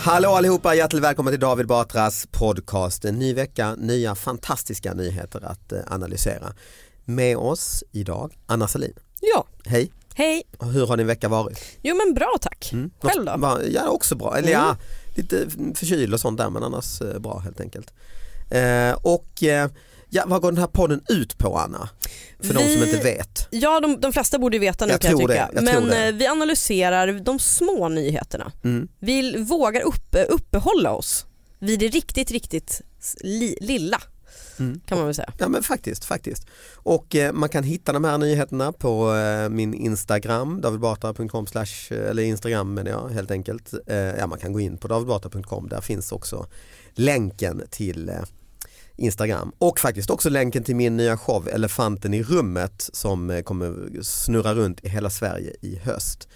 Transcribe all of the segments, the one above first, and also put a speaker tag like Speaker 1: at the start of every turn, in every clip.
Speaker 1: Hallå allihopa, hjärtligt välkomna till David Batras podcast. En ny vecka, nya fantastiska nyheter att eh, analysera. Med oss idag, Anna Salin.
Speaker 2: Ja,
Speaker 1: Hej,
Speaker 2: hej.
Speaker 1: Och hur har din vecka varit?
Speaker 2: Jo men bra tack.
Speaker 1: Mm,
Speaker 2: Själv då? Mm.
Speaker 1: Va- Ja, också bra. Eller ja, lite förkyld och sånt där men annars eh, bra helt enkelt. Eh, och eh, ja, vad går den här podden ut på Anna? För de
Speaker 2: Vi-
Speaker 1: som inte vet.
Speaker 2: Ja de, de flesta borde ju veta nu
Speaker 1: Jag
Speaker 2: kan jag
Speaker 1: tror
Speaker 2: tycka.
Speaker 1: det, jag tror
Speaker 2: men
Speaker 1: det.
Speaker 2: eh, vi analyserar de små nyheterna.
Speaker 1: Mm.
Speaker 2: Vi vågar upp, eh, uppehålla oss vid det riktigt, riktigt s- li, lilla
Speaker 1: Mm.
Speaker 2: kan man väl säga.
Speaker 1: Ja men faktiskt, faktiskt. Och eh, man kan hitta de här nyheterna på eh, min Instagram, davidbatra.com slash, eh, eller Instagram menar jag helt enkelt. Eh, ja man kan gå in på davidbatra.com, där finns också länken till eh, Instagram och faktiskt också länken till min nya show Elefanten i rummet som eh, kommer snurra runt i hela Sverige i höst.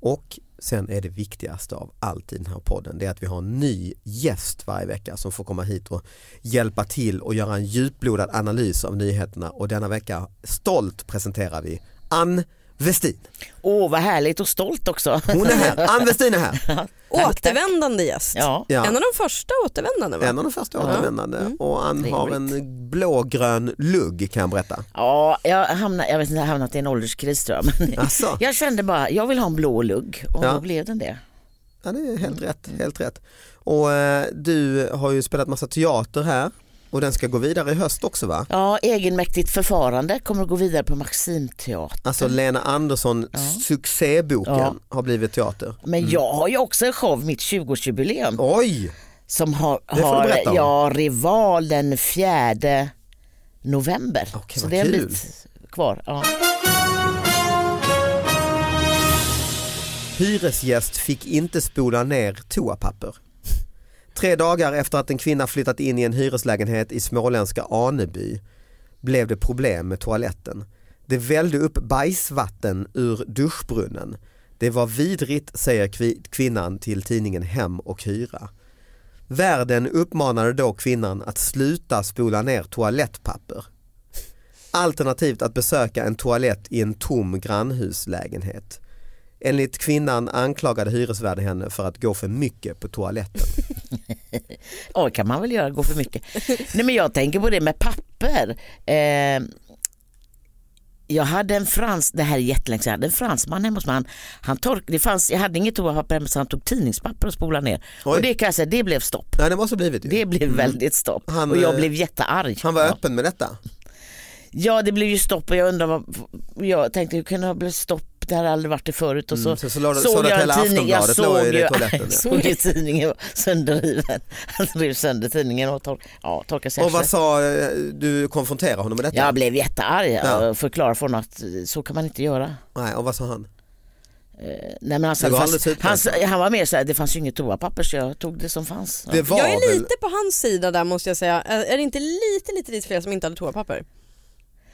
Speaker 1: Och sen är det viktigaste av allt i den här podden, det är att vi har en ny gäst varje vecka som får komma hit och hjälpa till och göra en djuplodad analys av nyheterna och denna vecka stolt presenterar vi Ann Westin.
Speaker 3: Åh vad härligt och stolt också.
Speaker 1: Hon är här, Ann Westin är här.
Speaker 2: Återvändande gäst.
Speaker 3: Ja.
Speaker 1: Ja.
Speaker 2: En av de första återvändande va? Mm.
Speaker 1: En av de första återvändande och Ann har en blågrön lugg kan jag berätta.
Speaker 3: Ja, jag hamnade, jag vet inte, jag har hamnat i en ålderskris tror jag. Men
Speaker 1: Alltså,
Speaker 3: jag kände bara, jag vill ha en blå lugg och
Speaker 1: Ja.
Speaker 3: då blev den det.
Speaker 1: ja, det är
Speaker 3: Mm.
Speaker 1: helt rätt, helt rätt. Och eh, du har ju spelat massa teater här och den ska gå vidare i höst också va?
Speaker 3: Ja, egenmäktigt förfarande kommer att gå vidare på Maximteater.
Speaker 1: Alltså Lena Andersson, succéboken
Speaker 3: Ja.
Speaker 1: har blivit teater.
Speaker 3: Men jag har ju också en show, mitt 20-årsjubileum,
Speaker 1: Oj,
Speaker 3: som har,
Speaker 1: får du
Speaker 3: har
Speaker 1: berätta om.
Speaker 3: ja, rival den 4 november.
Speaker 1: Okej,
Speaker 3: Så
Speaker 1: vad
Speaker 3: det är en
Speaker 1: kul.
Speaker 3: bit kvar. Ja.
Speaker 1: hyresgäst fick inte spola ner toapapper. Tre dagar efter att en kvinna flyttat in i en hyreslägenhet i småländska Aneby blev det problem med toaletten. Det vällde upp bajsvatten ur duschbrunnen. Det var vidrigt säger kvi- kvinnan till tidningen Hem och Hyra. Värden uppmanade då kvinnan att sluta spola ner toalettpapper. Alternativt att besöka en toalett i en tom grannhuslägenhet. Enligt kvinnan anklagade hyresvärden henne för att gå för mycket på toaletten.
Speaker 3: Ja, kan man väl göra, gå för mycket. Nej, men jag tänker på det med papper. Eh, jag hade en frans, det här är jättelänge sedan, jag hade en fransman hemma hos mig. Han, han tork, det fanns, jag hade inget toapapper hemma så han tog tidningspapper och spolade ner.
Speaker 1: Oj.
Speaker 3: Och det kan jag säga, det blev stopp.
Speaker 1: Nej det måste ha blivit ju.
Speaker 3: Det blev väldigt stopp.
Speaker 1: Han,
Speaker 3: och jag
Speaker 1: eh,
Speaker 3: blev jättearg.
Speaker 1: Han var
Speaker 3: ja.
Speaker 1: öppen med detta.
Speaker 3: ja, det blev ju stopp och jag undrar vad, jag tänkte hur kunde det ha blivit stopp upp, det här har aldrig varit det förut. Och så
Speaker 1: Mm, så- så la du-
Speaker 3: såg
Speaker 1: sa du att
Speaker 3: jag en
Speaker 1: hela
Speaker 3: tidning, jag
Speaker 1: Aftonbladet låg
Speaker 3: såg
Speaker 1: i
Speaker 3: ju,
Speaker 1: toaletten,
Speaker 3: jag
Speaker 1: ja.
Speaker 3: såg ju tidningen Alltså, var sönderriven. Han rev sönder tidningen och tor- ja, torkade sig
Speaker 1: Och vad
Speaker 3: efter.
Speaker 1: sa eh, du konfronterade honom med detta?
Speaker 3: Jag blev jättearg
Speaker 1: Ja.
Speaker 3: och förklarade för honom att eh, så kan man inte göra.
Speaker 1: Nej, och vad sa han?
Speaker 3: Nej, men alltså,
Speaker 1: Det
Speaker 3: det
Speaker 1: var typ alltså.
Speaker 3: fanns,
Speaker 1: alldeles utmärkt.
Speaker 3: han, han var mer så här, det fanns ju inget toapapper så jag tog det som fanns.
Speaker 1: Det var
Speaker 4: Jag är
Speaker 1: väl-
Speaker 4: lite på hans sida där måste jag säga. Är är det inte lite, lite, lite fler som inte hade toapapper?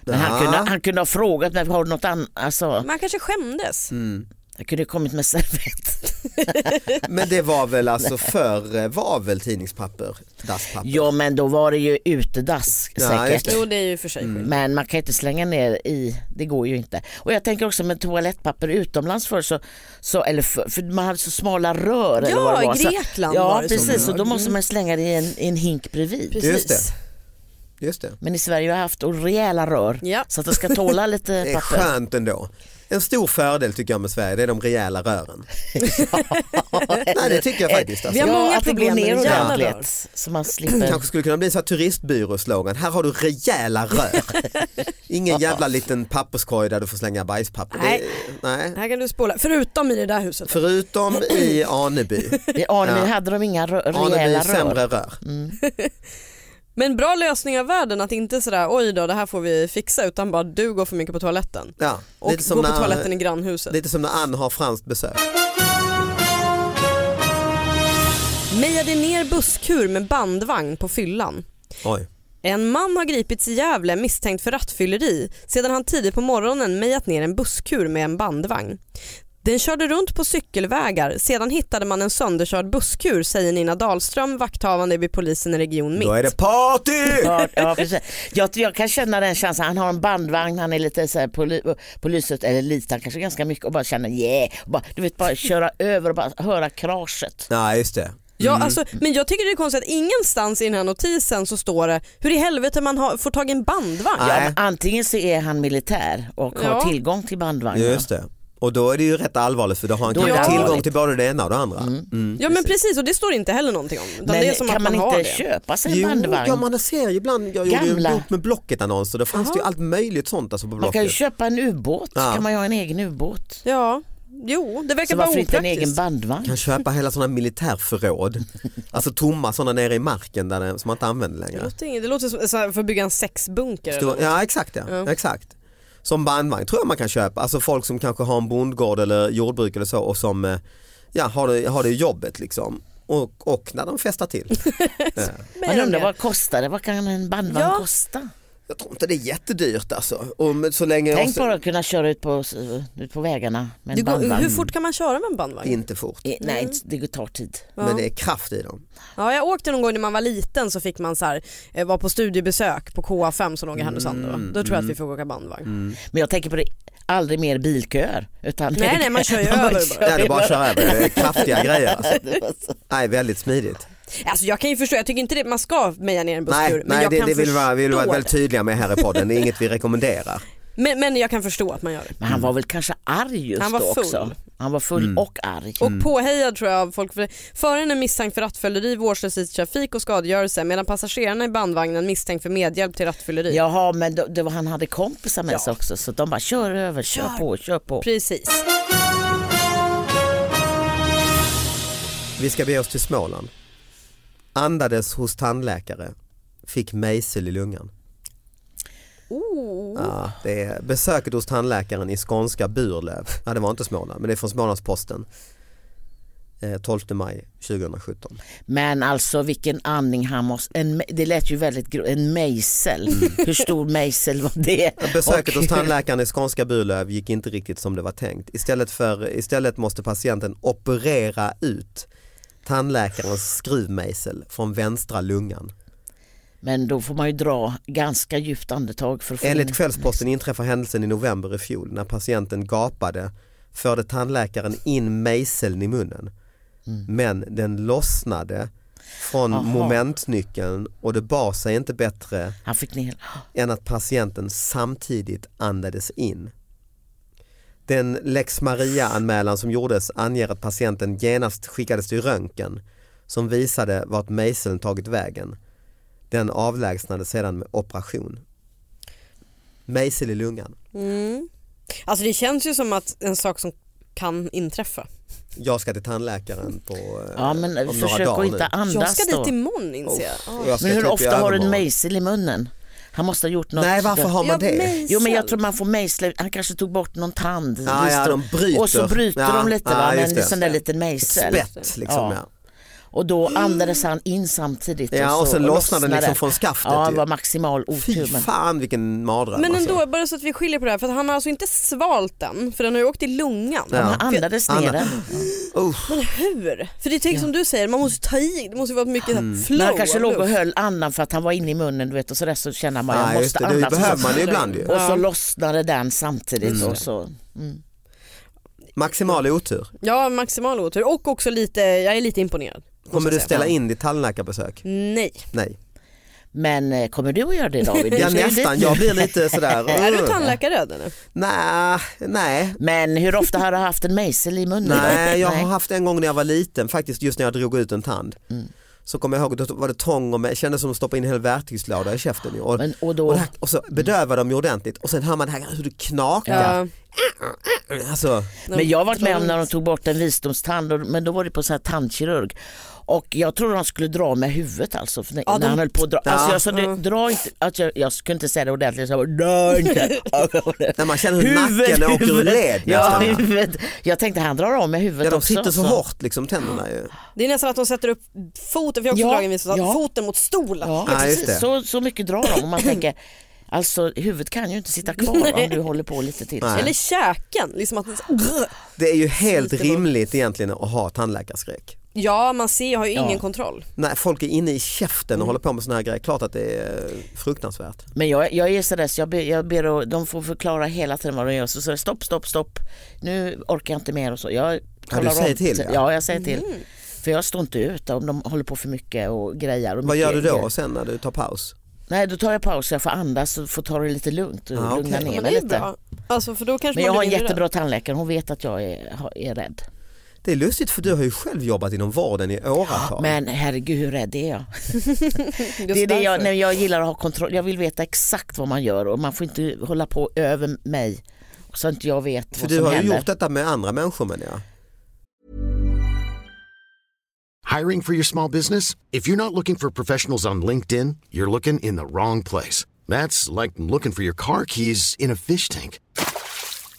Speaker 3: Men han,
Speaker 1: Ja.
Speaker 3: kunde, han kunde ha frågat mig, har du något annat? Alltså,
Speaker 4: Men han kanske skämdes.
Speaker 1: Mm.
Speaker 3: jag kunde ha kommit med servett.
Speaker 1: Men det var väl alltså förr eh, var väl tidningspapper, dasspapper?
Speaker 3: Ja men då var det ju utedask
Speaker 1: Ja, just
Speaker 3: säkert.
Speaker 1: det.
Speaker 4: Jo det är ju för sig.
Speaker 1: Mm.
Speaker 3: Men man kan inte slänga ner i, det går ju inte. Och jag tänker också med toalettpapper utomlands förr så, så eller för, för man hade så smala rör. eller
Speaker 4: Ja,
Speaker 3: vad det var.
Speaker 4: i Grekland
Speaker 3: så, Ja
Speaker 4: var det så.
Speaker 3: precis och då
Speaker 4: Mm.
Speaker 3: måste man slänga det i en, i en hink bredvid.
Speaker 4: Precis.
Speaker 1: Just det. Just det.
Speaker 3: Men i Sverige har jag haft rejäla rör
Speaker 4: Ja.
Speaker 3: så att det ska tåla
Speaker 1: Det
Speaker 3: lite
Speaker 1: är
Speaker 3: papper.
Speaker 1: skönt ändå. En stor fördel tycker jag med Sverige, det är de rejäla rören. Nej det tycker jag
Speaker 3: Eh,
Speaker 1: faktiskt.
Speaker 4: Vi
Speaker 1: Alltså.
Speaker 4: har
Speaker 3: ja,
Speaker 4: många
Speaker 3: att det går
Speaker 4: problem med
Speaker 3: ner
Speaker 4: rejäla rör.
Speaker 3: ordentligt så man slipper.
Speaker 1: Kanske skulle kunna bli en sån här turistbyråslogan, här har du rejäla rör. Ingen jävla liten papperskorg där du får slänga bajspapper.
Speaker 4: Nej.
Speaker 1: Det, nej.
Speaker 4: Här kan du spola, förutom i det där huset.
Speaker 1: Förutom i Aneby.
Speaker 3: I Aneby
Speaker 1: Ja.
Speaker 3: hade de inga rö-
Speaker 1: Aneby
Speaker 3: rejäla
Speaker 1: är
Speaker 3: rör. Mm.
Speaker 1: sämre rör.
Speaker 4: Men bra lösning av världen att inte sådär oj då det här får vi fixa utan bara du går för mycket på toaletten.
Speaker 1: Ja.
Speaker 4: Och
Speaker 1: Lite
Speaker 4: gå
Speaker 1: som,
Speaker 4: på
Speaker 1: när,
Speaker 4: toaletten i grannhuset.
Speaker 1: lite som när Ann har franskt besök.
Speaker 4: Mejade ner busskur med bandvagn på fyllan.
Speaker 1: Oj.
Speaker 4: En man har gripits i Gävle misstänkt för rattfylleri sedan han tidigt på morgonen mejat ner en busskur med en bandvagn. Den körde runt på cykelvägar, sedan hittade man en sönderkörd busskur säger Nina Dahlström, vakthavande vid polisen i region Mitt.
Speaker 1: Då är det party!
Speaker 3: Ja, ja, precis. jag, jag kan känna den känslan, han har en bandvagn, han är lite så här poly, polyset, eller lite, han kanske ganska mycket och bara känner yeah, och bara, du vet bara köra över och bara höra kraschet.
Speaker 1: Nej just det.
Speaker 4: Ja,
Speaker 3: Mm.
Speaker 4: alltså, men jag tycker det är konstigt att ingenstans i den här notisen så står det hur i helvete man har, får tag i en bandvagn.
Speaker 3: Ja,
Speaker 1: Nej.
Speaker 3: men antingen så är han militär och har
Speaker 4: Ja.
Speaker 3: tillgång till bandvagnen.
Speaker 1: Just det. Och då är det ju rätt allvarligt för då har han
Speaker 3: Då är
Speaker 1: kanske
Speaker 4: det
Speaker 1: tillgång
Speaker 3: allvarligt. Mm.
Speaker 1: till både det ena och det andra. Mm.
Speaker 4: Ja men precis och det står inte heller någonting om. Utan
Speaker 3: Men
Speaker 4: det är som
Speaker 3: kan
Speaker 4: att
Speaker 3: man,
Speaker 4: man, har
Speaker 3: inte
Speaker 4: det.
Speaker 3: köpa sig en
Speaker 1: Jo,
Speaker 3: bandvagn?
Speaker 1: ja, man ser ju ibland, jag gjorde ju
Speaker 3: Gamla.
Speaker 1: en bok med Blocket-annonser, då fanns det ju allt möjligt sånt alltså på
Speaker 3: man
Speaker 1: Blocket.
Speaker 3: kan ju köpa en ubåt,
Speaker 1: Ja.
Speaker 3: kan man ju ha en egen ubåt.
Speaker 4: Ja, jo det verkar
Speaker 3: Så
Speaker 4: vara
Speaker 3: varför inte en egen
Speaker 4: opraktiskt.
Speaker 3: bandvagn?
Speaker 1: kan köpa hela sådana militärförråd, alltså tomma sådana nere i marken där, det- som man inte använder
Speaker 4: Det
Speaker 1: längre.
Speaker 4: låter, det låter som så här, för att bygga en sexbunker.
Speaker 1: Stor,
Speaker 4: eller något.
Speaker 1: ja exakt ja, exakt. Som bandvagn tror jag man kan köpa, alltså folk som kanske har en bondgård eller jordbruk eller så och som eh, ja, har, det, har det i jobbet liksom. Och, och när de festar till. Eh,
Speaker 3: Man undrar vad kostar det? Vad kan en bandvagn kosta?
Speaker 1: jag tror inte det är jättedyrt alltså. Och men så länge
Speaker 3: Tänk
Speaker 1: också-
Speaker 3: bara att kunna köra ut på, ut på vägarna med
Speaker 4: Det
Speaker 3: en
Speaker 4: går,
Speaker 3: bandvagn.
Speaker 4: hur fort kan man köra med en bandvagn?
Speaker 1: Inte fort,
Speaker 3: Eh, Nej,
Speaker 4: Mm.
Speaker 3: det tar tid.
Speaker 1: men det är kraft i dem.
Speaker 4: Ja, jag åkte någon gång när man var liten så fick man så här, eh, var på studiebesök på KA5 som låg i Härnösand. Då,
Speaker 1: Mm,
Speaker 4: då tror jag att vi får åka bandvagn.
Speaker 3: Men jag tänker på det, aldrig mer bilköer. Utan
Speaker 4: Nej, nej, man kör ju över bara. Mm.
Speaker 1: Ja, det är bara att köra över, det är kraftiga grejer alltså. Nej, väldigt smidigt.
Speaker 4: Alltså jag kan ju förstå, jag tycker inte det, man ska meja ner en busskur.
Speaker 1: Nej,
Speaker 4: men
Speaker 1: nej
Speaker 4: jag
Speaker 1: det,
Speaker 4: kan
Speaker 1: det vill vi vara, vill vara
Speaker 4: förstå
Speaker 1: väldigt tydliga med här i podden, det är inget vi rekommenderar.
Speaker 4: det. men, men jag kan förstå att man gör det.
Speaker 3: Men han var väl kanske arg just
Speaker 4: Han var
Speaker 3: då
Speaker 4: full.
Speaker 3: också. Han var full och arg.
Speaker 1: Mm.
Speaker 4: Och påhejad tror jag av folk. För föraren är misstänkt för rattfylleri, vårdslöshet i trafik och skadegörelse medan passagerarna i bandvagnen misstänkt för medhjälp till rattfylleri.
Speaker 3: Jaha men då, det var, han hade kompisar med sig också så de bara kör över, kör, på, kör på.
Speaker 4: Precis.
Speaker 1: Vi ska bege oss till Småland. Andades hos tandläkare, fick mejsel i lungan.
Speaker 4: Oh.
Speaker 1: Ja, det är besöket hos tandläkaren i skånska Burlöv, ja, det var inte Småland, men det är från Smålandsposten. Eh, 12 maj 2017.
Speaker 3: Men alltså vilken andning han måste, en, me- det lät ju väldigt gro- en mejsel.
Speaker 4: Mm.
Speaker 3: Hur stor mejsel var det?
Speaker 1: Besöket
Speaker 3: Och-
Speaker 1: hos tandläkaren i skånska Burlöv gick inte riktigt som det var tänkt. Istället, för, istället måste patienten operera ut tandläkarens skruvmejsel från vänstra lungan.
Speaker 3: Men då får man ju dra ganska djupt andetag för att få in-
Speaker 1: Enligt Kvällsposten inträffar händelsen i november i fjol när patienten gapade förde tandläkaren in mejseln i munnen. Men den lossnade från
Speaker 3: Aha.
Speaker 1: momentnyckeln och det bar sig inte bättre
Speaker 3: Han fick ner,
Speaker 1: än att patienten samtidigt andades in. Den lex Maria-anmälan som gjordes anger att patienten genast skickades till röntgen som visade vart mejseln tagit vägen. Den avlägsnades sedan med operation. Mejsel i lungan.
Speaker 4: Alltså det känns ju som att en sak som kan inträffa.
Speaker 1: Jag ska till tandläkaren på eh,
Speaker 3: Ja, men
Speaker 1: om några
Speaker 3: försök
Speaker 1: dagar
Speaker 3: att inte
Speaker 1: nu.
Speaker 3: andas
Speaker 4: Jag ska
Speaker 3: då.
Speaker 4: dit imorgon inser jag.
Speaker 1: Och jag ska
Speaker 3: Men hur
Speaker 1: typ i
Speaker 3: ofta har du en
Speaker 1: övermorgon.
Speaker 3: mejsel i munnen? Han måste ha gjort något.
Speaker 1: Nej varför har man
Speaker 4: Ja,
Speaker 1: det?
Speaker 4: mejsel.
Speaker 3: Jo men jag tror man får mejsla, han kanske tog bort någon tand.
Speaker 1: Ja,
Speaker 3: Visst,
Speaker 1: ja, de bryter.
Speaker 3: Och så bryter
Speaker 1: Ja,
Speaker 3: de lite
Speaker 1: ja,
Speaker 3: va, med
Speaker 1: just
Speaker 3: en
Speaker 1: det.
Speaker 3: sån där liten mejsel.
Speaker 1: Spett liksom ja.
Speaker 3: Ja. Och då andades han in samtidigt.
Speaker 1: Ja, och
Speaker 3: så
Speaker 1: så lossnade den liksom från skaftet
Speaker 3: Ja,
Speaker 1: ju.
Speaker 3: det var maximal otur.
Speaker 1: Fy
Speaker 3: Men...
Speaker 1: fan vilken mardröm
Speaker 4: Men
Speaker 1: alltså.
Speaker 4: ändå, bara så att vi skiljer på det här, för att han har alltså inte svalt den, för den har ju åkt i lungan.
Speaker 1: Ja.
Speaker 3: Han andades ner
Speaker 1: Anna-
Speaker 3: den.
Speaker 1: Usch.
Speaker 4: Hur? För det är tänk som du säger, man måste ta i, det måste ju vara ett mycket mm. flow
Speaker 3: Men han kanske
Speaker 4: av
Speaker 3: låg och
Speaker 4: luft.
Speaker 3: höll andan för att han var inne i munnen du vet, och sådär så känner man
Speaker 1: Ja,
Speaker 3: jag
Speaker 1: just
Speaker 3: måste
Speaker 1: det, det
Speaker 3: andas.
Speaker 1: behöver
Speaker 3: och,
Speaker 1: man
Speaker 3: så,
Speaker 1: ju ibland ju. Mm.
Speaker 3: och så lossnade den samtidigt. Och så.
Speaker 1: Maximal otur.
Speaker 4: Ja, maximal otur och också lite, jag är lite imponerad.
Speaker 1: Kommer du
Speaker 4: jag säga.
Speaker 1: ställa in ditt tandläkarbesök?
Speaker 3: Mm.
Speaker 4: Nej.
Speaker 1: Nej.
Speaker 3: Men eh, kommer du att göra det David? Du
Speaker 1: Ja
Speaker 3: ska ju dit
Speaker 1: nästan,
Speaker 3: nu.
Speaker 1: jag blir lite sådär.
Speaker 4: Är du
Speaker 1: "Ugh."
Speaker 4: tandläkarrädd eller?
Speaker 1: Nej, nej.
Speaker 3: Men hur ofta har du haft en mejsel i munnen?
Speaker 1: Nej, jag har haft en gång när jag var liten faktiskt just när jag drog ut en tand.
Speaker 3: Mm.
Speaker 1: Så kommer jag ihåg, då var det tång och med, kändes som att stoppa in en hel verktygslåda i käften. ju. Och,
Speaker 3: Men, och då,
Speaker 1: och, det här, och så bedövade de ju ordentligt och sen hör man det här hur det knakar.
Speaker 4: Ja.
Speaker 1: Alltså,
Speaker 3: men jag har varit med om när de tog bort en visdomstand, och, men då var det på så här tandkirurg. Och jag trodde de skulle dra med huvudet alltså, för när,
Speaker 4: Ja, de-
Speaker 3: när han höll på att dra. Alltså,
Speaker 1: Ja. Mm.
Speaker 3: jag, sa, "Du, dra inte, alltså, jag, jag kunde inte säga det ordentligt, så jag bara, dra inte.
Speaker 1: när man känner hur nacken åker ur led
Speaker 3: Ja,
Speaker 1: nästan.
Speaker 3: huvudet. Jag tänkte han drar av med huvudet
Speaker 1: Ja, de
Speaker 3: också. alltså.
Speaker 1: sitter så hårt liksom tänderna ju.
Speaker 4: Det är nästan att de sätter upp foten, för jag har också
Speaker 3: Ja,
Speaker 4: dragit en visdomstand,
Speaker 3: ja.
Speaker 4: foten mot stolen.
Speaker 3: Ja,
Speaker 1: Ja, just det.
Speaker 3: precis. Så, så mycket drar de och man tänker, alltså huvudet kan ju inte sitta kvar om du håller på lite till.
Speaker 1: Nej.
Speaker 4: Eller käken, liksom att
Speaker 1: Det är ju helt
Speaker 4: Sliter loss.
Speaker 1: rimligt egentligen att ha tandläkarskräck.
Speaker 4: Ja man ser, jag har ju ingen
Speaker 3: Ja.
Speaker 4: kontroll.
Speaker 1: När folk är inne i käften
Speaker 3: Mm.
Speaker 1: och håller på med såna här grejer, klart att det är eh, fruktansvärt.
Speaker 3: Men jag, jag är sådär så jag ber, jag ber och, de får förklara hela tiden vad de gör. Så säger jag, stopp, stopp, stopp. Nu orkar jag inte mer och så. Jag kollar
Speaker 1: du säger
Speaker 3: om.
Speaker 1: till, ja.
Speaker 3: ja. jag säger till.
Speaker 4: Mm.
Speaker 3: För jag står inte ut om de håller på för mycket och grejer. Och
Speaker 1: Vad gör du
Speaker 3: mycket
Speaker 1: då
Speaker 3: grejer.
Speaker 1: sen när du tar paus?
Speaker 3: Nej, då tar jag paus så jag får andas och får ta det lite lugnt och
Speaker 1: Ja,
Speaker 3: lugna
Speaker 1: Ah, okej.
Speaker 3: ner
Speaker 4: Men det
Speaker 3: mig
Speaker 4: är ju
Speaker 3: lite.
Speaker 4: bra. Alltså, för då kanske
Speaker 3: Men jag
Speaker 4: man
Speaker 3: har en
Speaker 4: blir mindre
Speaker 3: jättebra tandläkare, hon vet att jag är, har- är rädd.
Speaker 1: Det är lustigt för du har ju själv jobbat inom vården i åratal.
Speaker 3: Men herregud hur rädd är jag?
Speaker 4: rädd.
Speaker 3: Det är
Speaker 4: Just
Speaker 3: det jag,
Speaker 4: därför.
Speaker 3: nej, jag gillar att ha kontroll, jag vill veta exakt vad man gör och man får inte hålla på över mig så att inte jag vet
Speaker 1: för
Speaker 3: vad
Speaker 1: du
Speaker 3: som
Speaker 1: har ju
Speaker 3: händer.
Speaker 1: gjort detta med andra människor men jag.
Speaker 5: Hiring for your small business? If you're not looking for professionals on LinkedIn, you're looking in the wrong place. That's like looking for your car keys in a fish tank.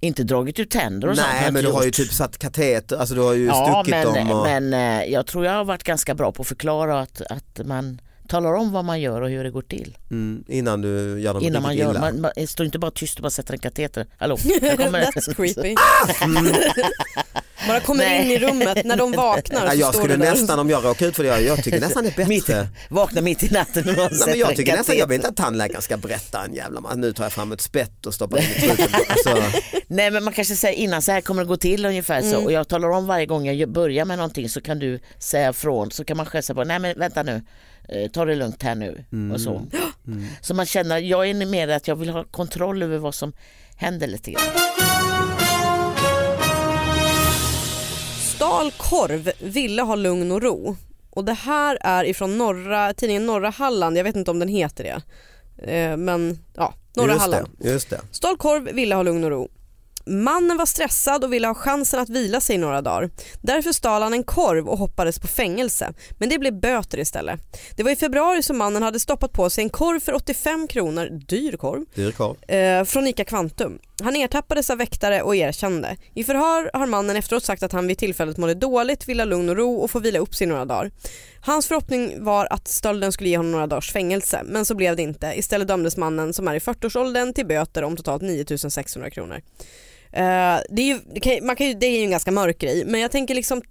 Speaker 3: Inte dragit ut tänder och sånt. har
Speaker 1: Nej
Speaker 3: jag
Speaker 1: men du
Speaker 3: inte
Speaker 1: har ju
Speaker 3: gjort.
Speaker 1: typ satt kateter, alltså du har ju
Speaker 3: Ja
Speaker 1: stuckit
Speaker 3: men,
Speaker 1: dem. Och...
Speaker 3: men eh, jag tror jag har varit ganska bra på att förklara att, att man talar om vad man gör och hur det går till.
Speaker 1: Mm, innan du gör dem
Speaker 3: innan man
Speaker 1: riktigt
Speaker 3: gör,
Speaker 1: illa.
Speaker 3: man, man står inte bara tyst och bara sätter en kateter. Hallå, här kommer
Speaker 4: That's creepy. Bara kommer
Speaker 3: Nej.
Speaker 4: in i rummet, när de vaknar
Speaker 1: Nej,
Speaker 4: så
Speaker 1: jag
Speaker 4: står du
Speaker 1: skulle
Speaker 4: där.
Speaker 1: nästan om jag råkar ut för det, jag, jag tycker nästan det är
Speaker 3: mitt,
Speaker 1: bättre.
Speaker 3: Vakna mitt i natten och någon
Speaker 1: Nej, men
Speaker 3: sätter en
Speaker 1: jag tycker nästan, jag
Speaker 3: kateter.
Speaker 1: vill inte att tandläkaren ska berätta en jävla massa, nu tar jag fram ett spett och stoppar in i truten. Alltså,
Speaker 3: Nej men man kanske säger innan så här kommer det gå till ungefär
Speaker 1: Mm.
Speaker 3: så och jag talar om varje gång jag gör- börjar med någonting så kan du säga från så kan man gesta på nej men vänta nu eh, ta det lugnt här nu och så.
Speaker 1: Mm.
Speaker 3: Så man känner, jag är mer att jag vill ha kontroll över vad som händer lite grann.
Speaker 4: Stal korv, ville ha lugn och ro. Och det här är ifrån norra, tidningen Norra Halland, jag vet inte om den heter det. Eh, Men ja, Norra
Speaker 1: just,
Speaker 4: Halland.
Speaker 1: det, just det.
Speaker 4: Stal korv, ville ha lugn och ro. Mannen var stressad och ville ha chansen att vila sig i några dagar. Därför stal han en korv och hoppades på fängelse. Men det blev böter istället. Det var i februari som mannen hade stoppat på sig en korv för 85 kronor, dyr korv,
Speaker 1: Dyr korv.
Speaker 4: eh, från ICA Kvantum. Han ertappades av väktare och erkände. I förhör har mannen efteråt sagt att han vid tillfället mådde dåligt, ville ha lugn och ro och få vila upp sig några dagar. Hans förhoppning var att stölden skulle ge honom några dagars fängelse men så blev det inte. Istället dömdes mannen som är i 40-årsåldern till böter om totalt 9 600 kronor. Eh, det, är ju, det, kan, man kan ju, det är ju en ganska mörk grej men jag tänker liksom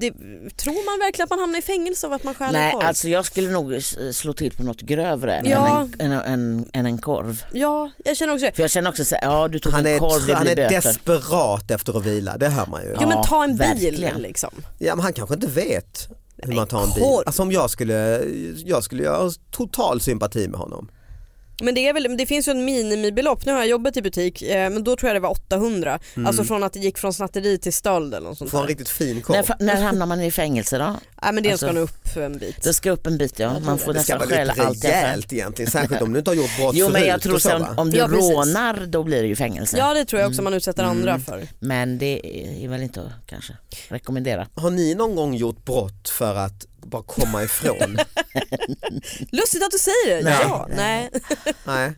Speaker 4: det, tror man verkligen att man hamnar i fängelse av att man stjäl en
Speaker 3: Nej,
Speaker 4: korv?
Speaker 3: alltså jag skulle nog s- eh, slå till på något grövre
Speaker 4: Ja.
Speaker 3: än, en, än, än, än en korv.
Speaker 4: Ja, jag känner också det.
Speaker 3: För jag känner också så här, ja du tog
Speaker 1: Han
Speaker 3: en
Speaker 1: är,
Speaker 3: korv,
Speaker 1: tr-
Speaker 3: det
Speaker 1: han
Speaker 3: blir
Speaker 1: är
Speaker 3: böter.
Speaker 1: desperat efter att vila, det hör man ju.
Speaker 4: Jo men ta en bil
Speaker 3: verkligen.
Speaker 4: liksom.
Speaker 1: Ja, men han kanske inte vet hur man tar en bil.
Speaker 4: korv.
Speaker 1: Alltså om jag skulle, jag skulle jag har total sympati med honom.
Speaker 4: Men det, är väl, men det finns ju en minimibelopp. Nu har jag jobbat i butik eh, men då tror jag det var 800.
Speaker 1: Mm.
Speaker 4: Alltså från att det gick från snatteri till stöld eller något sånt
Speaker 1: Får en
Speaker 4: där.
Speaker 1: riktigt fin korv.
Speaker 3: När, fa- när hamnar man i fängelse då?
Speaker 4: Nej men det
Speaker 3: Alltså-
Speaker 4: ska nog upp en bit.
Speaker 3: Det ska upp en bit ja, man får
Speaker 1: det
Speaker 3: nästan
Speaker 1: ska vara
Speaker 3: stjäla
Speaker 1: lite
Speaker 3: allt jag
Speaker 1: rejält egentligen, särskilt om du inte har gjort brott
Speaker 3: Jo men jag
Speaker 1: förut
Speaker 3: tror
Speaker 1: och så,
Speaker 3: så,
Speaker 1: va?
Speaker 3: om, om du
Speaker 4: Ja, precis.
Speaker 3: rånar då blir det ju fängelse.
Speaker 4: Ja det tror jag
Speaker 1: Mm.
Speaker 4: också man utsätter andra för.
Speaker 3: Men det är väl inte att kanske rekommendera.
Speaker 1: Har ni någon gång gjort brott för att bara komma ifrån?
Speaker 4: Lustigt att du säger det.
Speaker 1: Nej.
Speaker 4: Ja, nej.
Speaker 1: Nej,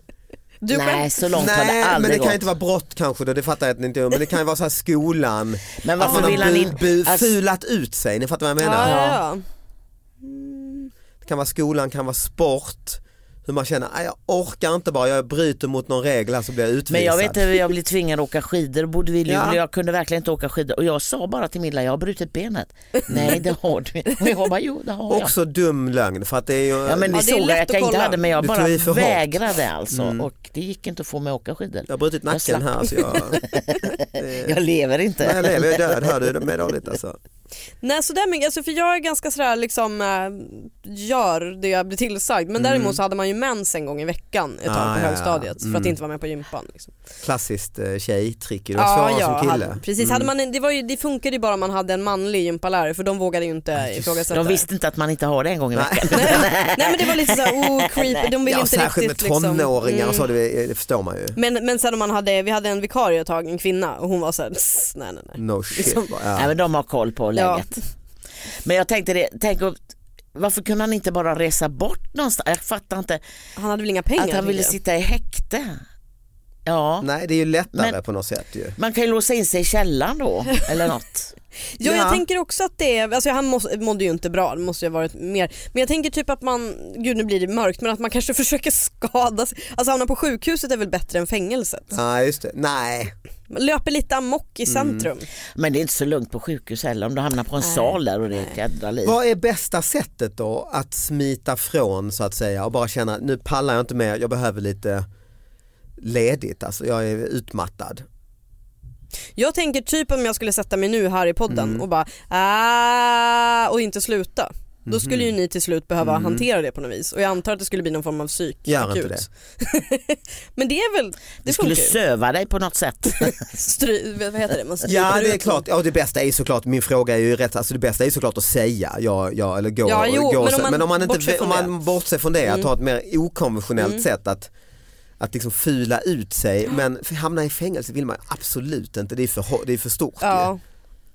Speaker 4: Du själv?
Speaker 3: Nej så långt har det
Speaker 1: Nej men det
Speaker 3: aldrig
Speaker 1: kan ju
Speaker 3: gått.
Speaker 1: inte vara brott kanske, då, det fattar jag att ni inte gör, men det kan ju vara så här skolan,
Speaker 3: Men
Speaker 1: att man
Speaker 3: varför
Speaker 1: har
Speaker 3: vill han
Speaker 1: bu-
Speaker 3: inte...
Speaker 1: bu-
Speaker 3: Alltså-
Speaker 1: fulat ut sig, ni fattar vad jag menar?
Speaker 4: Ja, ja, ja.
Speaker 1: Det kan vara skolan, kan vara sport, hur man känner, "Aj, jag orkar inte bara, jag bryter mot någon regel här så blir jag utvisad.
Speaker 3: Men jag vet inte, jag blev tvingad att åka skidor, bodde vid Luleå,
Speaker 1: Ja.
Speaker 3: jag kunde verkligen inte åka skidor och jag sa bara till Milla, jag har brutit benet. Nej det har du inte. Och jag bara, jo det har jag.
Speaker 1: Också dum lögn för att det är ju,
Speaker 3: Ja men ni
Speaker 4: Ja, det är
Speaker 3: såg
Speaker 4: lätt
Speaker 3: att jag
Speaker 4: att
Speaker 3: inte
Speaker 4: kolla.
Speaker 3: hade men jag
Speaker 1: Du
Speaker 3: bara
Speaker 1: tog i för hårt. Mm.
Speaker 3: vägrade alltså och det gick inte att få mig att åka skidor.
Speaker 1: jag har brutit nacken
Speaker 3: slapp.
Speaker 1: här så jag,
Speaker 3: Jag lever inte.
Speaker 1: Nej, jag lever, jag är död, hör du, det är dåligt alltså.
Speaker 4: Nej sådär mycket, alltså, för jag är ganska sådär liksom äh, gör det jag blir tillsagd men däremot så hade man ju mens en gång i veckan ett tag
Speaker 1: Mm. Ah,
Speaker 4: på
Speaker 1: ja, ja.
Speaker 4: högstadiet för
Speaker 1: Mm.
Speaker 4: att inte vara med på gympan. Liksom.
Speaker 1: Klassiskt eh, tjejtrick, det var svårare som kille. Mm.
Speaker 4: hade, precis. Hade man, en- det, var ju, det funkade ju bara om man hade en manlig gympalärare för de vågade ju inte ifrågasätta.
Speaker 3: De visste inte att man inte har det en gång i
Speaker 1: Nej.
Speaker 3: veckan.
Speaker 4: Nej, nej men det var lite såhär oh creepy, de ville
Speaker 1: Ja,
Speaker 4: inte
Speaker 1: särskilt
Speaker 4: riktigt
Speaker 1: med tonåringar
Speaker 4: liksom. Mm.
Speaker 1: och så, det, det förstår man ju.
Speaker 4: Men, men sen om man hade, vi hade en vikarie ett tag, en kvinna och hon var såhär "Tss, nej nej nej.
Speaker 1: No shit.
Speaker 4: Liksom-
Speaker 3: Nej,
Speaker 1: Ja.
Speaker 3: men de har koll på läget. Men jag tänkte det, tänk om, varför kunde han inte bara resa bort någonstans? Jag fattar inte
Speaker 4: Han hade väl inga pengar?
Speaker 3: att han ville
Speaker 4: tänker
Speaker 3: sitta i häkte. Ja,
Speaker 1: Nej det är ju lättare
Speaker 3: Men-
Speaker 1: på något sätt ju.
Speaker 3: man kan ju låsa in sig i källaren då eller något.
Speaker 4: jag. Jo,
Speaker 1: Ja.
Speaker 4: jag tänker också att det är, alltså han måste, mådde ju inte bra, det måste ju ha varit mer. Men jag tänker typ att man, gud nu blir det mörkt, men att man kanske försöker skada sig. Alltså hamna på sjukhuset är väl bättre än fängelset?
Speaker 1: Nej just det, nej.
Speaker 4: Man löper lite amok
Speaker 1: Mm.
Speaker 4: i centrum.
Speaker 3: Men det är inte så lugnt på sjukhus heller om du hamnar på en sal där och det är ett jädra liv.
Speaker 1: Vad är bästa sättet då att smita från så att säga och bara känna nu pallar jag inte mer, jag behöver lite ledigt, alltså jag är utmattad.
Speaker 4: Jag tänker typ om jag skulle sätta mig nu här i podden och bara "Ah", och inte sluta. Då skulle ju ni till slut behöva hantera det på något vis och jag antar att det skulle bli någon form av psyk.
Speaker 1: Gör
Speaker 4: akut.
Speaker 1: inte det.
Speaker 4: Men det är väl, det
Speaker 3: Du skulle
Speaker 4: funkar ju.
Speaker 3: söva dig på något sätt.
Speaker 4: Stry, vad heter det? Man stryker
Speaker 1: Ja det är
Speaker 4: ut.
Speaker 1: klart, ja, det bästa är ju såklart, min fråga är ju rätt, alltså det bästa är ju såklart att säga ja, ja eller gå.
Speaker 4: Ja, jo,
Speaker 1: gå
Speaker 4: men
Speaker 1: så-
Speaker 4: om man bortser
Speaker 1: inte,
Speaker 4: från Mm.
Speaker 1: om man bortser från det, att ha ett mer okonventionellt sätt att att liksom fula ut sig men för hamna i fängelse vill man absolut inte, det är för, hå- det är för stort
Speaker 4: Ja.
Speaker 1: ju.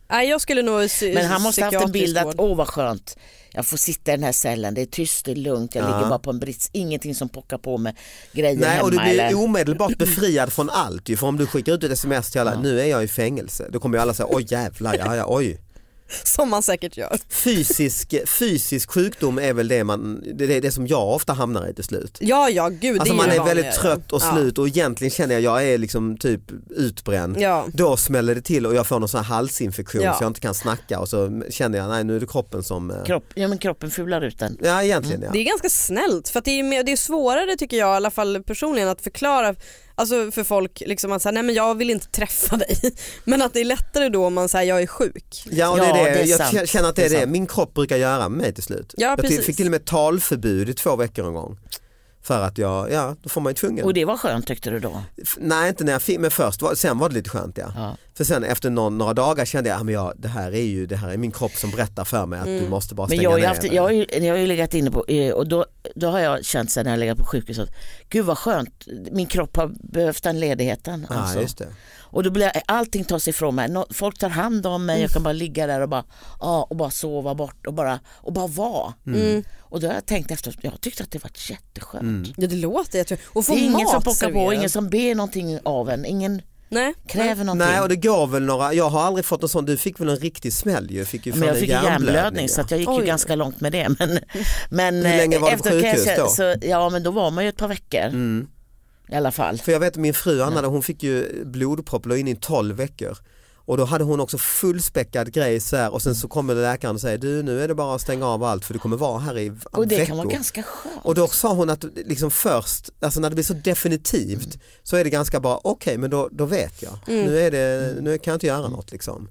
Speaker 4: Nej jag skulle nog sy-
Speaker 3: Men han måste ha haft en
Speaker 4: psykiatrisk
Speaker 3: bild att
Speaker 4: vård.
Speaker 3: åh vad skönt, jag får sitta i den här cellen, det är tyst, det är lugnt, jag ligger bara på en brits, ingenting som pockar på med grejer
Speaker 1: Nej
Speaker 3: hemma.
Speaker 1: och du blir
Speaker 3: eller...
Speaker 1: omedelbart befriad från allt ju för om du skickar ut ett sms till alla, nu är jag i fängelse, då kommer ju alla säga oj jävlar, ja, ja, oj.
Speaker 4: Som man säkert gör.
Speaker 1: Fysisk, fysisk sjukdom är väl det, man, det, det, det som jag ofta hamnar i till slut.
Speaker 4: Ja ja gud det
Speaker 1: Alltså
Speaker 4: är
Speaker 1: man
Speaker 4: ju
Speaker 1: är
Speaker 4: vanligare.
Speaker 1: väldigt trött och slut och egentligen känner jag jag är liksom typ utbränd.
Speaker 4: Ja.
Speaker 1: Då smäller det till och jag får någon sån här halsinfektion
Speaker 4: Ja.
Speaker 1: så jag inte kan snacka och så känner jag nej nu är det kroppen som... eh,
Speaker 3: Kropp, ja, men kroppen fular ut den.
Speaker 1: Ja egentligen
Speaker 4: Ja.
Speaker 1: ja.
Speaker 4: Det är ganska snällt för att det är, mer, det är svårare tycker jag i alla fall personligen att förklara alltså för folk liksom att säga nej men jag vill inte träffa dig men att det är lättare då om man säger jag är sjuk.
Speaker 1: Ja, och det är
Speaker 3: Ja,
Speaker 1: det.
Speaker 3: det är
Speaker 1: jag
Speaker 3: sant.
Speaker 1: k- känner att det är
Speaker 3: Det är
Speaker 1: det.
Speaker 3: sant.
Speaker 1: Min kropp brukar göra med mig till slut.
Speaker 4: Ja,
Speaker 1: jag till-
Speaker 4: precis.
Speaker 1: fick till och med talförbud i två veckor en gång. För att jag, ja då får man ju tvungen.
Speaker 3: Och det var skönt tyckte du då?
Speaker 1: F- Nej inte när jag fick, men först, var, sen var det lite skönt ja.
Speaker 3: Ja.
Speaker 1: För sen efter någon, några dagar kände jag, ah, men jag det, här är ju, det här är min kropp som berättar för mig att du måste bara
Speaker 3: Mm. Men
Speaker 1: stänga
Speaker 3: jag har, ju
Speaker 1: ner.
Speaker 3: haft,
Speaker 1: den.
Speaker 3: jag, har ju, jag har ju legat inne på, eh, och då, då har jag känt sen när jag legat på sjukhus att gud vad skönt, min kropp har behövt den ledigheten.
Speaker 1: Ja,
Speaker 3: Alltså.
Speaker 1: just det.
Speaker 3: Och då blir jag, allting tas ifrån mig, Nå- folk tar hand om mig, jag kan bara ligga där och bara, ja, och bara sova bort och bara, och bara vara.
Speaker 1: Mm.
Speaker 4: Mm.
Speaker 3: Och då har jag tänkt efteråt, jag tyckte att det var jätteskönt.
Speaker 1: Mm.
Speaker 4: Ja, det låter jätte... Och
Speaker 3: Det
Speaker 4: få
Speaker 3: är ingen
Speaker 4: mat
Speaker 3: som pockar på,
Speaker 4: serverad.
Speaker 3: ingen som ber någonting av en, ingen
Speaker 4: Nej.
Speaker 3: kräver någonting.
Speaker 1: Nej och det går väl några, jag har aldrig fått en sån, du fick väl en riktig smäll ju? Fick ju
Speaker 3: men
Speaker 1: fan
Speaker 3: jag
Speaker 1: en
Speaker 3: fick hjärnblödning
Speaker 1: ja.
Speaker 3: så att jag gick ju
Speaker 4: Oj.
Speaker 3: ganska långt med det. Men, men
Speaker 1: Hur länge
Speaker 3: eh,
Speaker 1: var du på
Speaker 3: efteråt kan jag
Speaker 1: sjukhus
Speaker 3: säga-
Speaker 1: då? Mm.
Speaker 3: Så, ja men då var man ju ett par veckor i alla fall.
Speaker 1: För jag vet min fru Anna, hon fick ju blodpropp, låg inne i 12 veckor. Och då hade hon också fullspäckad grej så här och sen så kommer läkaren och säger du nu är det bara att stänga av allt för du kommer vara här i v-
Speaker 3: Och det
Speaker 1: veckor.
Speaker 3: kan vara ganska skönt.
Speaker 1: Och då sa hon att liksom först, alltså när det blir så definitivt
Speaker 3: Mm.
Speaker 1: så är det ganska bara okej men då, då vet jag, nu, är det, nu kan jag inte
Speaker 3: Mm.
Speaker 1: göra något liksom.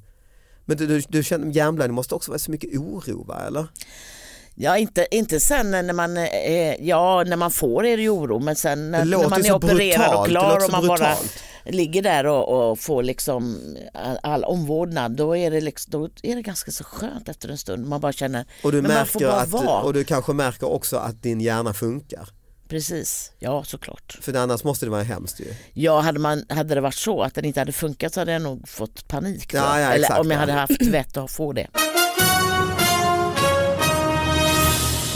Speaker 1: Men du, du, du känner hjärnblödning måste också vara så mycket oro va eller?
Speaker 3: Ja inte, inte sen när man, eh, ja när man får är det ju oro men sen
Speaker 1: Det
Speaker 3: när,
Speaker 1: låter
Speaker 3: när man
Speaker 1: ju
Speaker 3: är
Speaker 1: så
Speaker 3: opererad
Speaker 1: brutalt,
Speaker 3: och
Speaker 1: det
Speaker 3: klar
Speaker 1: låter
Speaker 3: och
Speaker 1: så
Speaker 3: man bara
Speaker 1: brutalt.
Speaker 3: ligger där och, och får liksom all, all omvårdnad då är, det liksom, då är det ganska så skönt efter en stund. Man bara känner,
Speaker 1: Och du,
Speaker 3: men man får
Speaker 1: märker
Speaker 3: bara
Speaker 1: att, du-
Speaker 3: vara.
Speaker 1: och du kanske märker också att din hjärna funkar.
Speaker 3: Precis, ja såklart.
Speaker 1: För annars måste det vara hemskt ju.
Speaker 3: Ja, hade, man, hade det varit så att den inte hade funkat så hade jag nog fått panik. tror
Speaker 1: Ja,
Speaker 3: jag.
Speaker 1: ja,
Speaker 3: Eller
Speaker 1: exakt,
Speaker 3: om jag
Speaker 1: ja.
Speaker 3: hade haft vett att få det.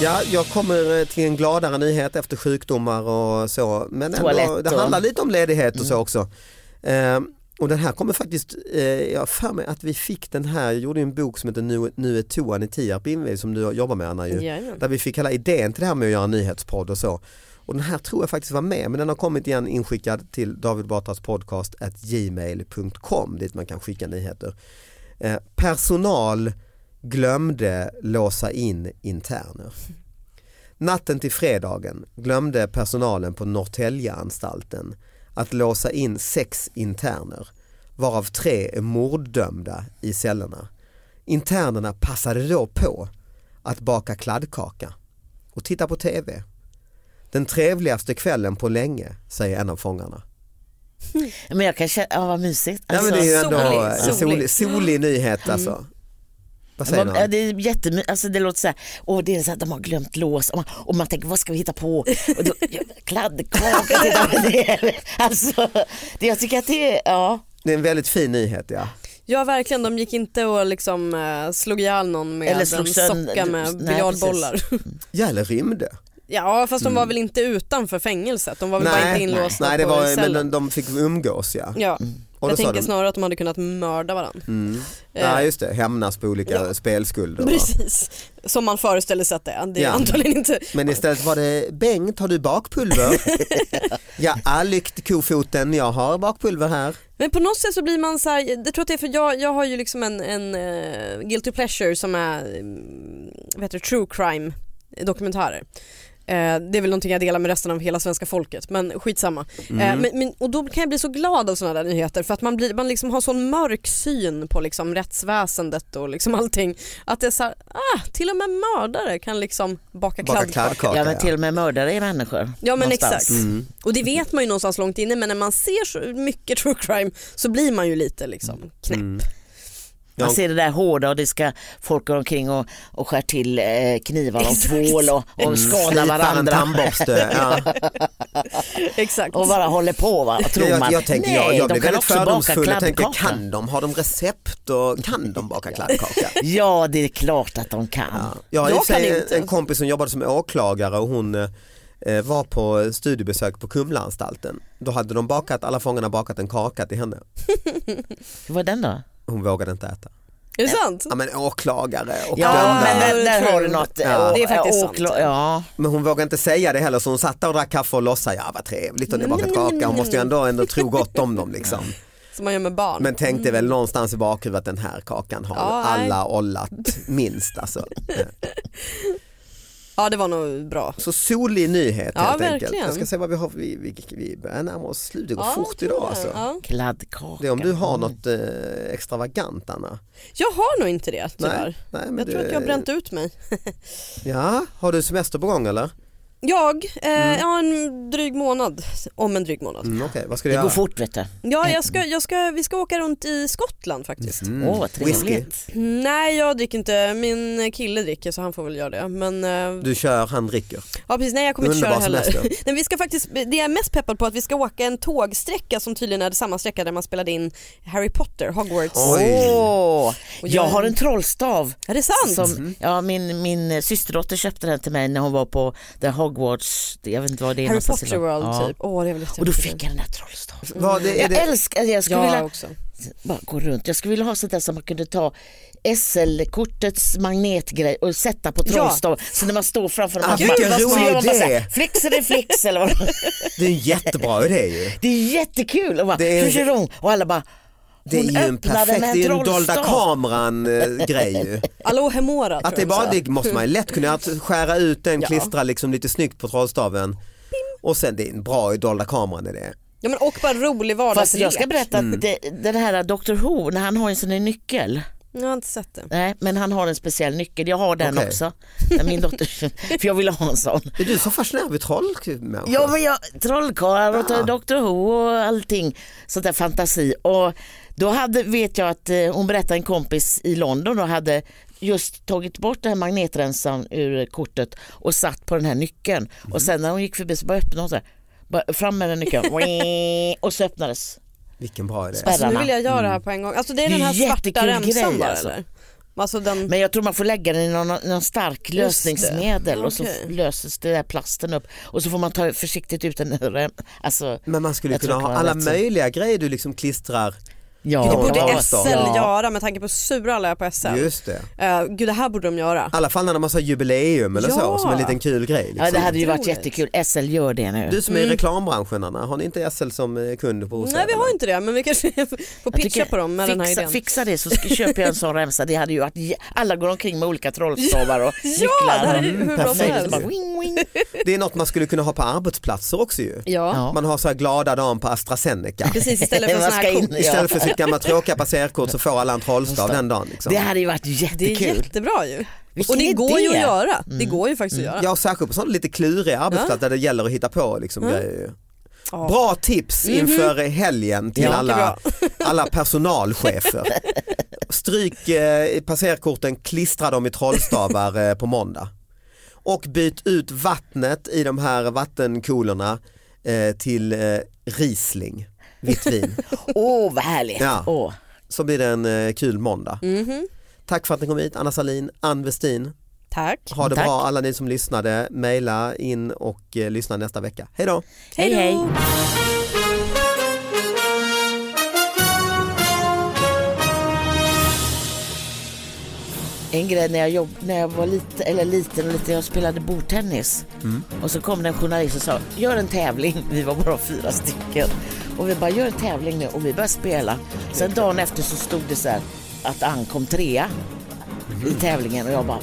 Speaker 1: Ja, jag kommer eh, till en gladare nyhet efter sjukdomar och så. Men ändå,
Speaker 3: Toalett
Speaker 1: det
Speaker 3: och- Mm.
Speaker 1: handlar lite om ledighet och så också. Eh, och den här kommer faktiskt, eh, jag har för mig att vi fick den här, jag gjorde ju en bok som heter Nu, nu är toan i Tierp invigd som du jobbar med Anna ju.
Speaker 4: Jajamän.
Speaker 1: Där vi fick hela idén till det här med att göra en nyhetspodd och så. Och den här tror jag faktiskt var med men den har kommit igen inskickad till David Batras podcast at gmail.com dit man kan skicka nyheter. Eh, personal glömde låsa in interner. Natten till fredagen glömde personalen på Norrtäljeanstalten att låsa in sex interner varav tre är morddömda i cellerna. Internerna passade då på att baka kladdkaka och titta på TV. Den trevligaste kvällen på länge, säger en av fångarna.
Speaker 3: Men jag kan känna, ja vad mysigt. Alltså,
Speaker 1: Nej, men det är ju ändå
Speaker 4: Alltså, solig, Mm.
Speaker 1: en solig,
Speaker 4: solig.
Speaker 1: solig nyhet alltså. Vad säger
Speaker 3: vad- ja,
Speaker 1: någon?
Speaker 3: det är jättemy- alltså det låter så här, åh det är så här, de har glömt lås och man, och man tänker vad ska vi hitta på? Och då, ja, Kladdkaka, titta på det. Alltså, det, jag tycker att det är, ja.
Speaker 1: Det är en väldigt fin nyhet ja.
Speaker 4: Ja verkligen, de gick inte och liksom eh, slog ihjäl någon med
Speaker 3: Eller
Speaker 4: en
Speaker 3: slog sönder-
Speaker 4: socka med
Speaker 3: Nej,
Speaker 4: biljardbollar.
Speaker 1: Ja eller rymde.
Speaker 4: Ja fast de var väl inte utanför fängelset, de var väl bara inte inlåsta
Speaker 1: nej det
Speaker 4: på
Speaker 1: var, men
Speaker 4: cellen.
Speaker 1: de, de fick umgås ja.
Speaker 4: Ja.
Speaker 1: Och då
Speaker 4: Jag
Speaker 1: sa
Speaker 4: tänker
Speaker 1: de- mm.
Speaker 4: snarare att de hade kunnat mörda varandra. Eh,
Speaker 1: Ja just det, hämnas på olika
Speaker 4: Ja.
Speaker 1: spelskulder. va?
Speaker 4: Precis, som man föreställer sig att det är. Det är
Speaker 1: Ja.
Speaker 4: antagligen inte.
Speaker 1: Men istället var det Bengt, har du bakpulver? ja, lykt kofoten, jag har bakpulver här.
Speaker 4: Men på något sätt så blir man så här, jag tror att det är för jag, jag har ju liksom en, en eh, guilty pleasure som är mm, vad heter det, true crime dokumentärer. Eh, det är väl någonting jag delar med resten av hela svenska folket men skitsamma. Eh, men, men, och då kan jag bli så glad av sådana där nyheter för att man, blir, man liksom har sån mörk syn på liksom rättsväsendet och liksom allting. Att det är så här, ah, till och med mördare kan liksom baka,
Speaker 1: Baka
Speaker 4: kladdkaka.
Speaker 1: kladdkaka.
Speaker 3: ja men till och med mördare är människor.
Speaker 4: Ja men
Speaker 3: någonstans.
Speaker 4: exakt. Mm, Och det vet man ju någonstans långt inne men när man ser så mycket true crime så blir man ju lite liksom knäpp.
Speaker 1: Ja.
Speaker 3: Man ser det där hårda och det ska folk går omkring och, och skär till eh, knivar och tvål och, och skadar
Speaker 1: mm, Slipar en
Speaker 3: varandra.
Speaker 1: tandborste. Ja.
Speaker 4: Exakt.
Speaker 3: Och bara håller på va? Och tror
Speaker 1: Jag,
Speaker 3: man.
Speaker 1: jag, tänker,
Speaker 3: Nej,
Speaker 1: jag, jag
Speaker 3: de
Speaker 1: blir
Speaker 3: kan
Speaker 1: väldigt
Speaker 3: också baka
Speaker 1: fördomsfull och tänker
Speaker 3: kladdkaka.
Speaker 1: kan de, har de recept och kan de baka kladdkaka?
Speaker 3: Ja det är klart att de kan.
Speaker 1: Ja. Jag har i och
Speaker 4: Jag
Speaker 1: för
Speaker 4: kan
Speaker 1: sig
Speaker 4: inte.
Speaker 1: en kompis som jobbade som åklagare och hon eh, var på studiebesök på Kumlaanstalten. Då hade de bakat, alla fångarna bakat en kaka till henne.
Speaker 3: Hur var den då?
Speaker 1: Hon vågade inte äta.
Speaker 4: Är det sant?
Speaker 1: Ja men åklagare och
Speaker 3: Ja
Speaker 1: dömda.
Speaker 3: men där, där
Speaker 4: True.
Speaker 3: har du något.
Speaker 4: Ja. Det är faktiskt sant.
Speaker 3: sant. Ja.
Speaker 1: Men hon vågade inte säga det heller så hon satt där och drack kaffe och låtsade, ja vad trevligt och ni har bakat kaka. Hon måste ju ändå, ändå tro gott om dem liksom.
Speaker 4: Som man gör med barn.
Speaker 1: Men tänkte väl någonstans i bakhuvudet att den här kakan har
Speaker 4: Ja, nej.
Speaker 1: alla ollat minst alltså.
Speaker 4: Ja det var nog bra.
Speaker 1: Så solig nyhet
Speaker 4: Ja,
Speaker 1: helt enkelt.
Speaker 4: verkligen.
Speaker 1: Jag ska se vad vi har, vi, vi, vi börjar närma oss slutet, det går
Speaker 4: Ja, jag
Speaker 1: fort
Speaker 4: tror
Speaker 1: idag
Speaker 4: det.
Speaker 1: alltså.
Speaker 4: Ja.
Speaker 3: Kladdkaka. Mm.
Speaker 1: Det är om du har något eh, extravagant Anna?
Speaker 4: Jag har nog inte det tyvärr.
Speaker 1: nej men
Speaker 4: jag tror
Speaker 1: du-
Speaker 4: att jag har bränt ut mig.
Speaker 1: Ja, har du semester på gång eller?
Speaker 4: Jag? Eh, Ja, en dryg månad. Om en dryg månad.
Speaker 1: Mm, Okej, vad ska du
Speaker 3: Det
Speaker 1: göra?
Speaker 3: går fort vet du.
Speaker 4: Ja, jag ska, jag ska, vi ska åka runt i Skottland faktiskt.
Speaker 1: Mm.
Speaker 3: Åh, vad trevligt.
Speaker 1: Whisky.
Speaker 4: Nej, jag dricker inte. Min kille dricker så han får väl göra det. Men, eh,
Speaker 1: Du kör, han dricker.
Speaker 4: ja, precis, nej, jag kommer inte
Speaker 1: Underbar
Speaker 4: köra heller.
Speaker 1: semester.
Speaker 4: Nej, vi ska faktiskt, det jag är mest peppad på är att vi ska åka en tågsträcka som tydligen är samma sträcka där man spelade in Harry Potter, Hogwarts.
Speaker 1: Oj.
Speaker 3: Åh,
Speaker 4: Och
Speaker 3: jag har en trollstav.
Speaker 4: Är det sant?
Speaker 1: Mhm.
Speaker 3: Som, ja, min, min systerdotter köpte den till mig när hon var på The Hogwarts, jag vet inte vad det är.
Speaker 4: Harry
Speaker 3: någonstans i
Speaker 4: Potter
Speaker 3: London.
Speaker 4: World typ. Åh, det är väl
Speaker 3: Och då
Speaker 4: jättehäftigt.
Speaker 3: fick jag den där trollstaven.
Speaker 1: Vad, det, är
Speaker 3: Jag
Speaker 1: det,
Speaker 3: älskar, jag skulle
Speaker 4: jag
Speaker 3: vilja
Speaker 4: också.
Speaker 3: bara gå runt. Jag skulle vilja ha sånt där som man kunde ta SL-kortets magnetgrej och sätta på trollstaven. Så när man står framför en
Speaker 1: Ah,
Speaker 3: massa-
Speaker 1: vilken
Speaker 3: så
Speaker 1: rolig
Speaker 3: gör man bara så här,
Speaker 1: idé.
Speaker 3: Flix eller flix eller vad
Speaker 1: det är en jättebra idé ju.
Speaker 3: Det är jättekul. Och, bara,
Speaker 1: Det är-
Speaker 3: "Tjursirong." och alla bara
Speaker 1: Det är
Speaker 3: "Hon
Speaker 1: ju en
Speaker 3: öppnade
Speaker 1: perfekt,
Speaker 3: med
Speaker 1: det är ju en dolda
Speaker 3: trollstav."
Speaker 1: kameran eh, grej ju.
Speaker 4: Allo Hemora tror
Speaker 1: Att det, är
Speaker 4: jag
Speaker 1: bara,
Speaker 4: också.
Speaker 1: det måste man ju lätt kunna att skära ut den, klistra liksom lite snyggt på trollstaven. Och sen det är en bra dolda kameran är det.
Speaker 4: Ja, men och bara rolig
Speaker 3: Fast
Speaker 4: vardagslek.
Speaker 3: jag ska berätta att
Speaker 1: Mm.
Speaker 3: det, den här Dr Who, när han har en sån där nyckel,
Speaker 4: Jag har inte sett det.
Speaker 3: nej men han har en speciell nyckel, jag har den
Speaker 1: Okej.
Speaker 3: också. Men Min dotter, för jag ville ha en sån.
Speaker 1: Är du så fascinerad vid trollmänniskor?
Speaker 3: Ja men jag, trollkarlar och Dr Who och allting sånt där fantasi. Och då hade, vet jag att eh, hon berättade en kompis i London och hade just tagit bort den här magnetrensaren ur kortet och satt på den här nyckeln.
Speaker 1: Mm.
Speaker 3: Och sen när hon gick förbi så bara öppnade hon så här. Bara fram med den nyckeln och så öppnades
Speaker 1: Mm. Vilken bra idé.
Speaker 3: spärrarna.
Speaker 4: Nu vill jag göra det här på en gång. Alltså det är
Speaker 3: Mm. Det är
Speaker 4: den här svarta
Speaker 3: jättekul
Speaker 4: remsan
Speaker 3: grej,
Speaker 4: bara,
Speaker 3: alltså.
Speaker 4: eller? Alltså den...
Speaker 3: Men jag tror man får lägga den i någon, någon stark lösningsmedel och så
Speaker 4: Okej.
Speaker 3: löses det där plasten upp och så får man ta försiktigt ut den. ur rem- Alltså,
Speaker 1: Men man skulle
Speaker 3: Jag
Speaker 1: kunna
Speaker 3: tror
Speaker 1: ha
Speaker 3: det var
Speaker 1: alla
Speaker 3: rätt så.
Speaker 1: möjliga grejer du liksom klistrar.
Speaker 3: ja,
Speaker 1: Det
Speaker 4: det borde
Speaker 1: Ja,
Speaker 4: SL
Speaker 1: ja.
Speaker 4: göra med tanke på hur sura alla är på SL.
Speaker 1: Just det. I
Speaker 4: Eh, gud det här borde de göra.
Speaker 1: alla fall när de har så här jubileum eller så
Speaker 4: Ja.
Speaker 1: som en liten kul grej. Liksom.
Speaker 3: Ja, det hade ju varit
Speaker 4: Otroligt.
Speaker 3: jättekul. SL gör det nu.
Speaker 1: Du som är i reklambranschen Anna, har ni inte SL som eh, kund på hos
Speaker 4: Mm. Nej
Speaker 1: er,
Speaker 4: vi har
Speaker 1: eller?
Speaker 4: inte det men vi kanske får
Speaker 3: Jag
Speaker 4: pitcha
Speaker 3: tycker,
Speaker 4: på dem med
Speaker 3: fixa,
Speaker 4: den här idén.
Speaker 3: Fixa det så ska- köper jag en sån remsa. Det hade ju varit, jä- alla går omkring med olika trollstavar och
Speaker 4: Ja det
Speaker 3: nycklar.
Speaker 4: här är
Speaker 3: och-
Speaker 4: ju hur bra som
Speaker 1: perfekt.
Speaker 3: Så
Speaker 4: helst.
Speaker 3: bara, wing, wing.
Speaker 1: Det är något man skulle kunna ha på arbetsplatser också ju.
Speaker 4: Ja.
Speaker 3: Ja.
Speaker 1: Man har så här glada dagen på AstraZeneca.
Speaker 4: Precis istället för
Speaker 3: Man
Speaker 4: sån
Speaker 3: ska
Speaker 4: här
Speaker 3: in-
Speaker 4: kort.
Speaker 3: ja.
Speaker 1: Istället för sitt gamla tråkiga passerkort så får alla en trollstav den dagen. Liksom.
Speaker 3: Det hade ju varit
Speaker 4: Det är
Speaker 3: jättekul.
Speaker 4: jättebra ju.
Speaker 3: Vilken
Speaker 4: Och det går ju att
Speaker 3: idé. Mm.
Speaker 4: göra. Det går ju faktiskt att göra.
Speaker 1: Ja, och särskilt på sådana lite kluriga arbetsplatser där det gäller att hitta på liksom, grejer.
Speaker 4: Ja.
Speaker 1: Bra tips inför helgen till
Speaker 3: Ja, det är
Speaker 1: alla, alla personalchefer. Stryk eh, passerkorten, klistra dem i trollstavar eh, på måndag. Och byt ut vattnet i de här vattenkulorna eh, till eh, Riesling, vitt vin.
Speaker 3: Åh vad härligt.
Speaker 1: Ja.
Speaker 3: Åh.
Speaker 1: Så blir det en eh, kul måndag. Tack för att ni kom hit, Anna Salin, Ann Westin.
Speaker 4: Tack.
Speaker 1: Ha det
Speaker 3: Tack.
Speaker 1: bra alla ni som lyssnade. Maila in och eh, lyssna nästa vecka. Hej då!
Speaker 3: Hej hej. En grej när jag, jobb, när jag var lite, eller liten och lite, jag spelade bordtennis.
Speaker 1: Mm.
Speaker 3: Och så kom det en journalist och sa, gör en tävling. Vi var bara fyra stycken. Och vi bara, gör en tävling nu. Och vi började spela. Sen dagen efter så stod det så här att Ann kom trea i
Speaker 1: Mm-hmm.
Speaker 3: tävlingen. Och jag bara,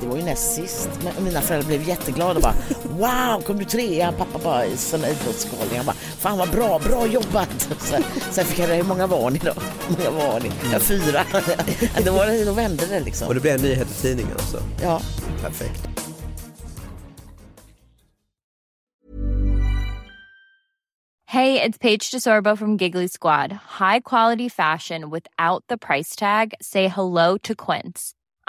Speaker 3: det var ju näst sist. Men mina föräldrar blev jätteglada och bara, wow, kom du trea? Pappa bara, i sån idrottsgalning. Jag bara, fan vad bra, bra jobbat. Så, sen fick jag det, hur många var ni då? Hur många var ni? Ja, fyra. Då, var det, då vände det liksom.
Speaker 1: Mm. Och det blir en nyhet i tidningen också.
Speaker 3: Ja.
Speaker 1: Perfekt.
Speaker 6: Hey, it's Paige DeSorbo from Giggly Squad. High quality fashion without the price tag. Say hello to Quince.